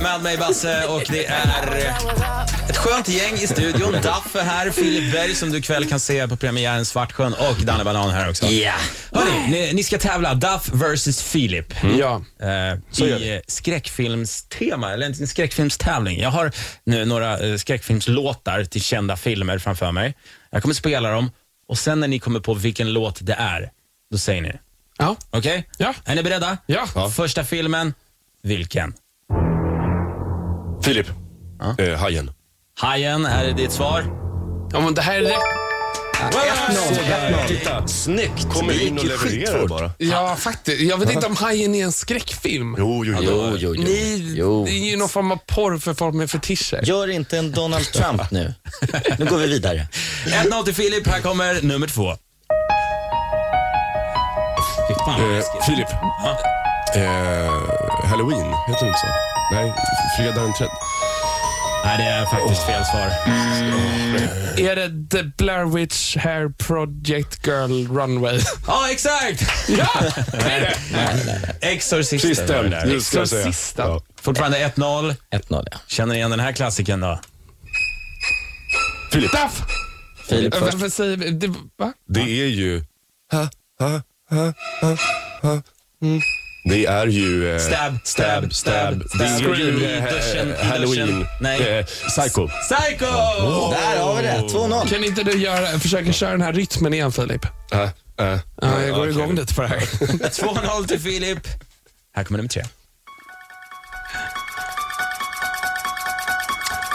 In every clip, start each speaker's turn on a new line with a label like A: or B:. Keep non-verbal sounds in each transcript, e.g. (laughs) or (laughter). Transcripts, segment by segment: A: med mig Basse och det är ett skönt gäng i studion. Daffe här, Filip Berg som du ikväll kan se på premiären Svartsjön och Danne Banan här också.
B: Ja.
A: Hörni, ni, ni ska tävla Duff vs Filip
B: Ja.
A: eh, i eh, skräckfilmstema, eller en en skräckfilmstävling. Jag har nu några eh, skräckfilmslåtar till kända filmer framför mig. Jag kommer spela dem och sen när ni kommer på vilken låt det är, då säger ni.
B: Ja.
A: Okej?
B: Ja.
A: Är ni beredda?
B: Ja. Ja.
A: Första filmen, vilken?
C: Filip. Eh, hajen.
A: Hajen, här är ditt svar.
B: ja men det här är rätt.
C: Titta. Snyggt. Kommer in och levererar bara.
B: Ja, faktiskt. Jag vet inte om Hajen är en skräckfilm.
C: Jo, jo, jo.
D: Jo, jo, jo.
B: Ni,
D: jo.
B: det är ju någon form av porr för folk med fetischer.
D: Gör inte en Donald Trump nu. Nu går vi vidare.
A: 1-0 till Filip, här kommer nummer två. Fy fan vad
C: Eh,
A: läskigt.
C: Filip. Eh, Halloween, heter det inte så? Nej, fredag den 30.
A: Nej, det är faktiskt fel svar.
B: Är det The Blair Witch Hair Project Girl Runway?
A: Ja, exakt!
B: ja! det är det.
A: (laughs) Exorcisten. var det
C: Sisten,
A: där.
C: nu ska jag säga.
B: Exorcisten.
C: Ja.
A: Fortfarande 1-0.
D: 1-0 ja.
A: Känner ni igen den här klassikern då?
C: Filip,
B: Daff!
D: Filip först.
B: Varför säger vi... Det, va?
C: det är ju... Mm. Det är ju... eh,
A: Stab, stab, stab,
C: Det
A: stab.
C: är ju
A: I duschen, i
C: eh, Halloween.
A: duschen. Nej.
C: Eh, Psycho.
A: Psycho! Oh.
D: Där har vi det. 2-0.
B: Kan inte du göra, försöka köra den här rytmen igen, Filip?
C: Eh, eh,
B: Ja, jag går
C: okej.
B: igång lite på det här.
A: 2-0 till Filip. Här kommer nummer tre.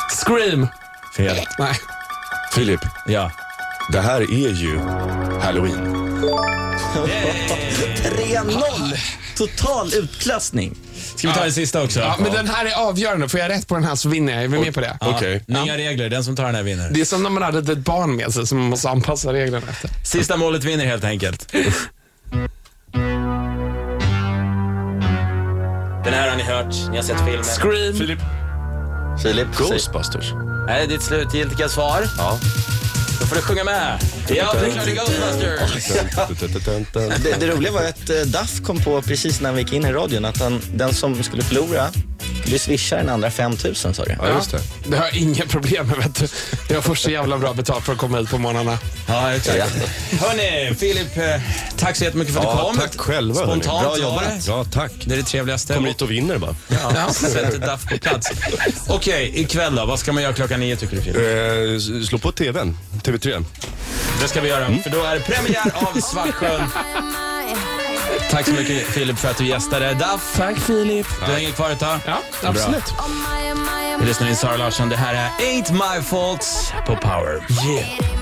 B: Scream.
A: Fel.
B: Nej.
C: Filip,
A: Ja.
C: det här är ju Halloween.
D: 3-0. Total utklassning.
A: Ska vi ta den sista också?
B: Ja, men den här är avgörande. Får jag rätt på den här så vinner jag. Är vi med på det?
C: Okej.
A: Nya regler, den som tar den här vinner.
B: Det är som när man hade ett barn med sig som man måste anpassa reglerna efter.
A: Sista målet vinner helt enkelt. Den här har ni hört, ni har sett filmen.
B: Scream.
C: Filip.
D: Filip, säg-
C: Ghostbusters.
A: Här är ditt slutgiltiga svar.
C: Ja.
A: Då får du sjunga med. Ja, det är klart det är Ghostbusters.
D: det, det roliga var ju att eh, Duff kom på precis när vi gick in i radion att han, den som skulle förlora skulle swisha den andra 5 000 sa du.
C: Ja, just det.
B: Det har jag inga problem med. Vet du. Jag får så jävla bra betalt för att komma hit på morgnarna.
A: Ja, exakt. Hörni, Filip, eh, tack så jättemycket för att du
C: Ja,
A: kom.
C: tack själva. hörni.
A: Spontant
C: Bra
A: var det.
C: jobbat. Ja, tack.
A: Det är det trevligaste.
C: Kom hit och vinner bara.
A: Ja, sätter Daff på plats. Okej, ikväll då? Vad ska man göra klockan nio tycker du Filip?
C: Eh, s- slå på tvn, TV3.
A: Det ska vi göra,
B: Mm.
A: för då är det premiär
B: (laughs)
A: av Svartsjön. Tack så mycket Filip för att du gästade. Daff,
B: Tack Filip.
A: du hänger kvar ett tag.
B: Ja, absolut.
A: Vi lyssnar in Sara Larsson. Det här är Ain't My Fault på Power.
B: Yeah.